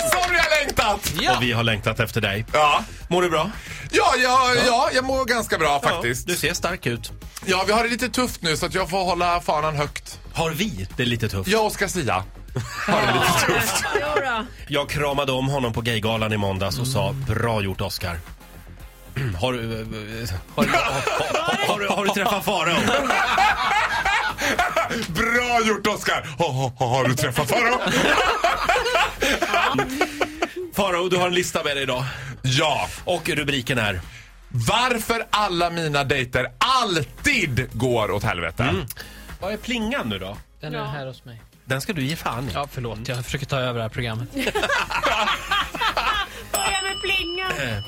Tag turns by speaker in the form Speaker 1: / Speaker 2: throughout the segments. Speaker 1: Som jag längtat!
Speaker 2: Och vi har längtat efter dig.
Speaker 1: Ja.
Speaker 2: Mår du bra?
Speaker 1: Ja, ja, ja, jag mår ganska bra faktiskt.
Speaker 2: Du ser stark ut.
Speaker 1: Ja, vi har det lite tufft nu så att jag får hålla fanan högt.
Speaker 2: Har vi det lite tufft?
Speaker 1: Jag och Oscar Sia har det lite tufft.
Speaker 2: Jag kramade om honom på Gaygalan i måndags och sa bra gjort Oscar. Har du, eh, har, du- har, har, du- har du träffat Farao?
Speaker 1: Bra gjort Oscar! Ha, ha, ha, har du träffat Farao?
Speaker 2: Farao, du har en lista med dig idag.
Speaker 1: Ja.
Speaker 2: Och rubriken är
Speaker 1: Varför alla mina dejter alltid går åt helvete.
Speaker 2: Vad är plingan nu då?
Speaker 3: Den är här hos mig.
Speaker 2: Den ska du ge fan i.
Speaker 3: Ja, förlåt. Jag försöker ta över det här programmet.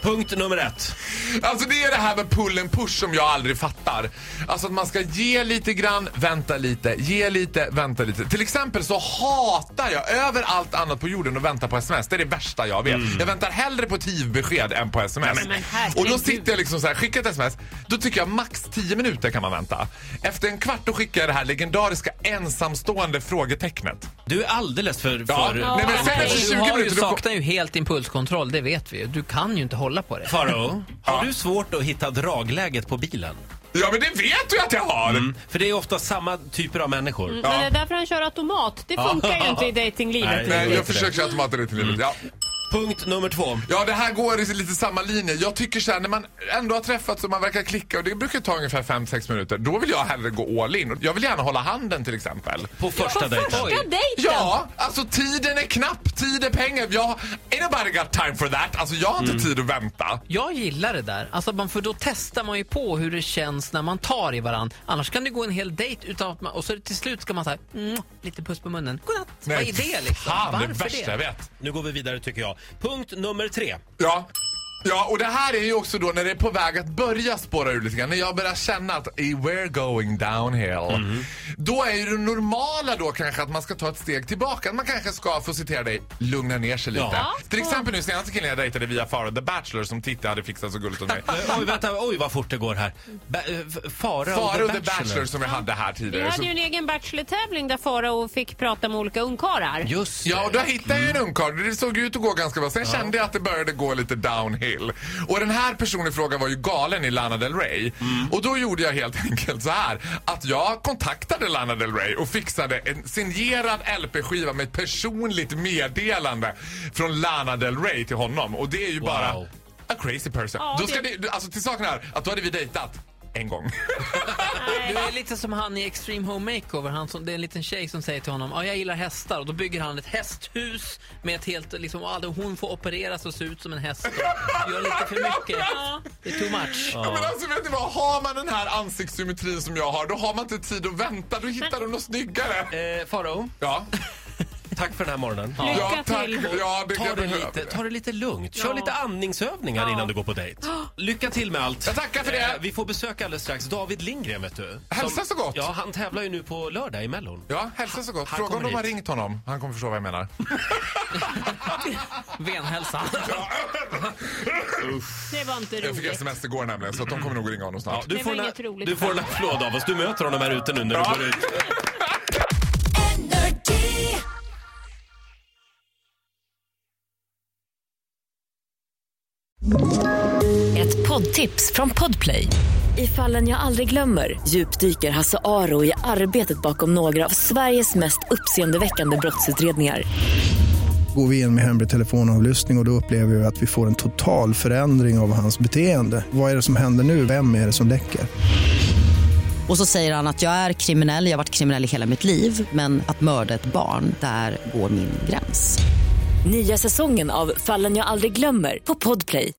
Speaker 2: Punkt nummer ett.
Speaker 1: Alltså det är det här med pull and push som jag aldrig fattar. Alltså att man ska ge lite grann, vänta lite, ge lite, vänta lite. Till exempel så hatar jag över allt annat på jorden att vänta på sms. Det är det värsta jag vet. Jag väntar hellre på TIV-besked än på sms. och då sitter jag liksom så här, skickar ett sms. Då tycker jag max 10 minuter kan man vänta. Efter en kvart då skickar jag det här legendariska ensamstående frågetecknet.
Speaker 2: Du är alldeles för...
Speaker 1: Ja.
Speaker 2: för
Speaker 1: Nej, men sen efter
Speaker 3: Du
Speaker 1: 20
Speaker 3: har ju,
Speaker 1: minuter då kom-
Speaker 3: saknar ju helt impulskontroll, det vet vi ju. Du kan ju inte hålla på det.
Speaker 2: Farao, har du svårt att hitta dragläget på bilen?
Speaker 1: Ja men det vet du ju att jag har!
Speaker 2: För det är ofta samma typer av människor.
Speaker 4: Men det är därför han kör automat. Det funkar ju inte
Speaker 2: Nej.
Speaker 4: i dejtinglivet.
Speaker 1: Nej,
Speaker 2: vet
Speaker 1: jag
Speaker 2: det.
Speaker 1: försöker att mata det till livet. Ja.
Speaker 2: Punkt nummer två.
Speaker 1: Ja, det här går i lite samma linje. Jag tycker så här, när man ändå har träffats och man verkar klicka och det brukar ta ungefär 5-6 minuter, då vill jag hellre gå all in. Jag vill gärna hålla handen till exempel.
Speaker 2: På första dejten.
Speaker 4: Första dejten!
Speaker 1: Ja, alltså tiden är knapp, tid är pengar. Jag, anybody got time for that? Alltså jag har inte tid att vänta.
Speaker 3: Jag gillar det där. Alltså, man, för då testar man ju på hur det känns när man tar i varandra. Annars kan det gå en hel dejt utan att man, och så till slut ska man säga mm, lite puss på munnen. Godnatt. Vad är det liksom?
Speaker 1: Fan, det är
Speaker 3: Varför
Speaker 1: värsta jag vet.
Speaker 2: Nu går vi vidare tycker jag. Punkt nummer tre.
Speaker 1: Ja. Ja, och det här är ju också då när det är på väg att börja spåra ur lite grann. När jag börjar känna att eh, we're going downhill. Då är ju det normala då kanske att man ska ta ett steg tillbaka. Man kanske ska, för att citera dig, lugna ner sig lite.
Speaker 2: Ja.
Speaker 1: Till exempel nu senaste killen jag dejtade via Farao The Bachelor som Titti hade fixat så gulligt åt mig.
Speaker 2: Eh, Oj, vänta. Oj, vad fort det går här.
Speaker 3: Mm.
Speaker 2: Ba- eh, F- Farao
Speaker 1: Farao The Bachelor som vi hade här
Speaker 4: Vi
Speaker 1: tidigare.
Speaker 4: hade ju en egen bachelor-tävling där Farao fick prata med olika ungkarlar.
Speaker 2: Just
Speaker 1: Ja,
Speaker 2: det.
Speaker 1: och då hittade jag en ungkarl. Det såg ut att gå ganska bra. Sen kände jag att det började gå lite downhill. Och den här personen i fråga var ju galen i Lana Del Rey.
Speaker 2: Mm.
Speaker 1: Och då gjorde jag helt enkelt så här. Att jag kontaktade Lana Del Rey och fixade en signerad LP-skiva med ett personligt meddelande från Lana Del Rey till honom. Och det är ju bara
Speaker 2: Wow.
Speaker 1: a crazy person.
Speaker 4: Ja,
Speaker 1: då ska
Speaker 4: det-
Speaker 1: det, alltså till saken här, att då hade vi dejtat en gång.
Speaker 3: Du är lite som han i Extreme Home Makeover. Han som, det är en liten tjej som säger till honom ah, jag gillar hästar. Och då bygger han ett hästhus med ett helt... Liksom, och alla- hon får opereras och se ut som en häst. Och gör lite för mycket. Det är too much.
Speaker 1: Ja. Men alltså vet ni vad, har man den här ansiktssymmetrin som jag har, då har man inte tid att vänta. Då hittar de något snyggare.
Speaker 2: Eh, Farao,
Speaker 1: Ja.
Speaker 2: tack för den här morgonen.
Speaker 1: ja,
Speaker 4: Lycka
Speaker 1: tack.
Speaker 4: till.
Speaker 1: Ja, det
Speaker 2: Ta
Speaker 1: jag
Speaker 2: det,
Speaker 1: behöver.
Speaker 2: lite, ta det lite lugnt. Kör
Speaker 4: Ja.
Speaker 2: lite andningsövningar
Speaker 4: Ja.
Speaker 2: innan du går på dejt. Lycka till med allt.
Speaker 1: Jag tackar för det.
Speaker 2: Eh, Vi får besöka alldeles strax David Lindgren, vet du.
Speaker 1: Hälsa så gott.
Speaker 2: Ja,
Speaker 1: Ja.
Speaker 2: han tävlar ju nu på lördag i Mellon.
Speaker 1: hälsa så gott.
Speaker 2: Han
Speaker 1: Fråga om
Speaker 2: kommer
Speaker 1: de har
Speaker 2: hit.
Speaker 1: ringt honom. Han kommer förstå vad jag menar.
Speaker 3: Venhälsa.
Speaker 4: Det var inte
Speaker 1: Jag fick
Speaker 4: roligt.
Speaker 1: sms igår nämligen, så att de kommer nog ringa honom snart.
Speaker 2: du
Speaker 4: Det
Speaker 2: får
Speaker 4: var
Speaker 2: en-
Speaker 4: inget roligt
Speaker 2: Du får en applåd av oss. Du möter honom här ute nu när du går ut.
Speaker 5: Ett poddtips från Podplay. I fallen jag aldrig glömmer djupdyker Hasse Aro i arbetet bakom några av Sveriges mest uppseendeväckande brottsutredningar.
Speaker 6: går vi in med hemlig telefonavlyssning och, och då upplever vi att vi får en total förändring av hans beteende. Vad är det som händer nu? Vem är det som läcker?
Speaker 7: Och så säger han att jag är kriminell, jag har varit kriminell i hela mitt liv men att mörda ett barn, där går min gräns.
Speaker 5: Nya säsongen av Fallen jag aldrig glömmer på Podplay.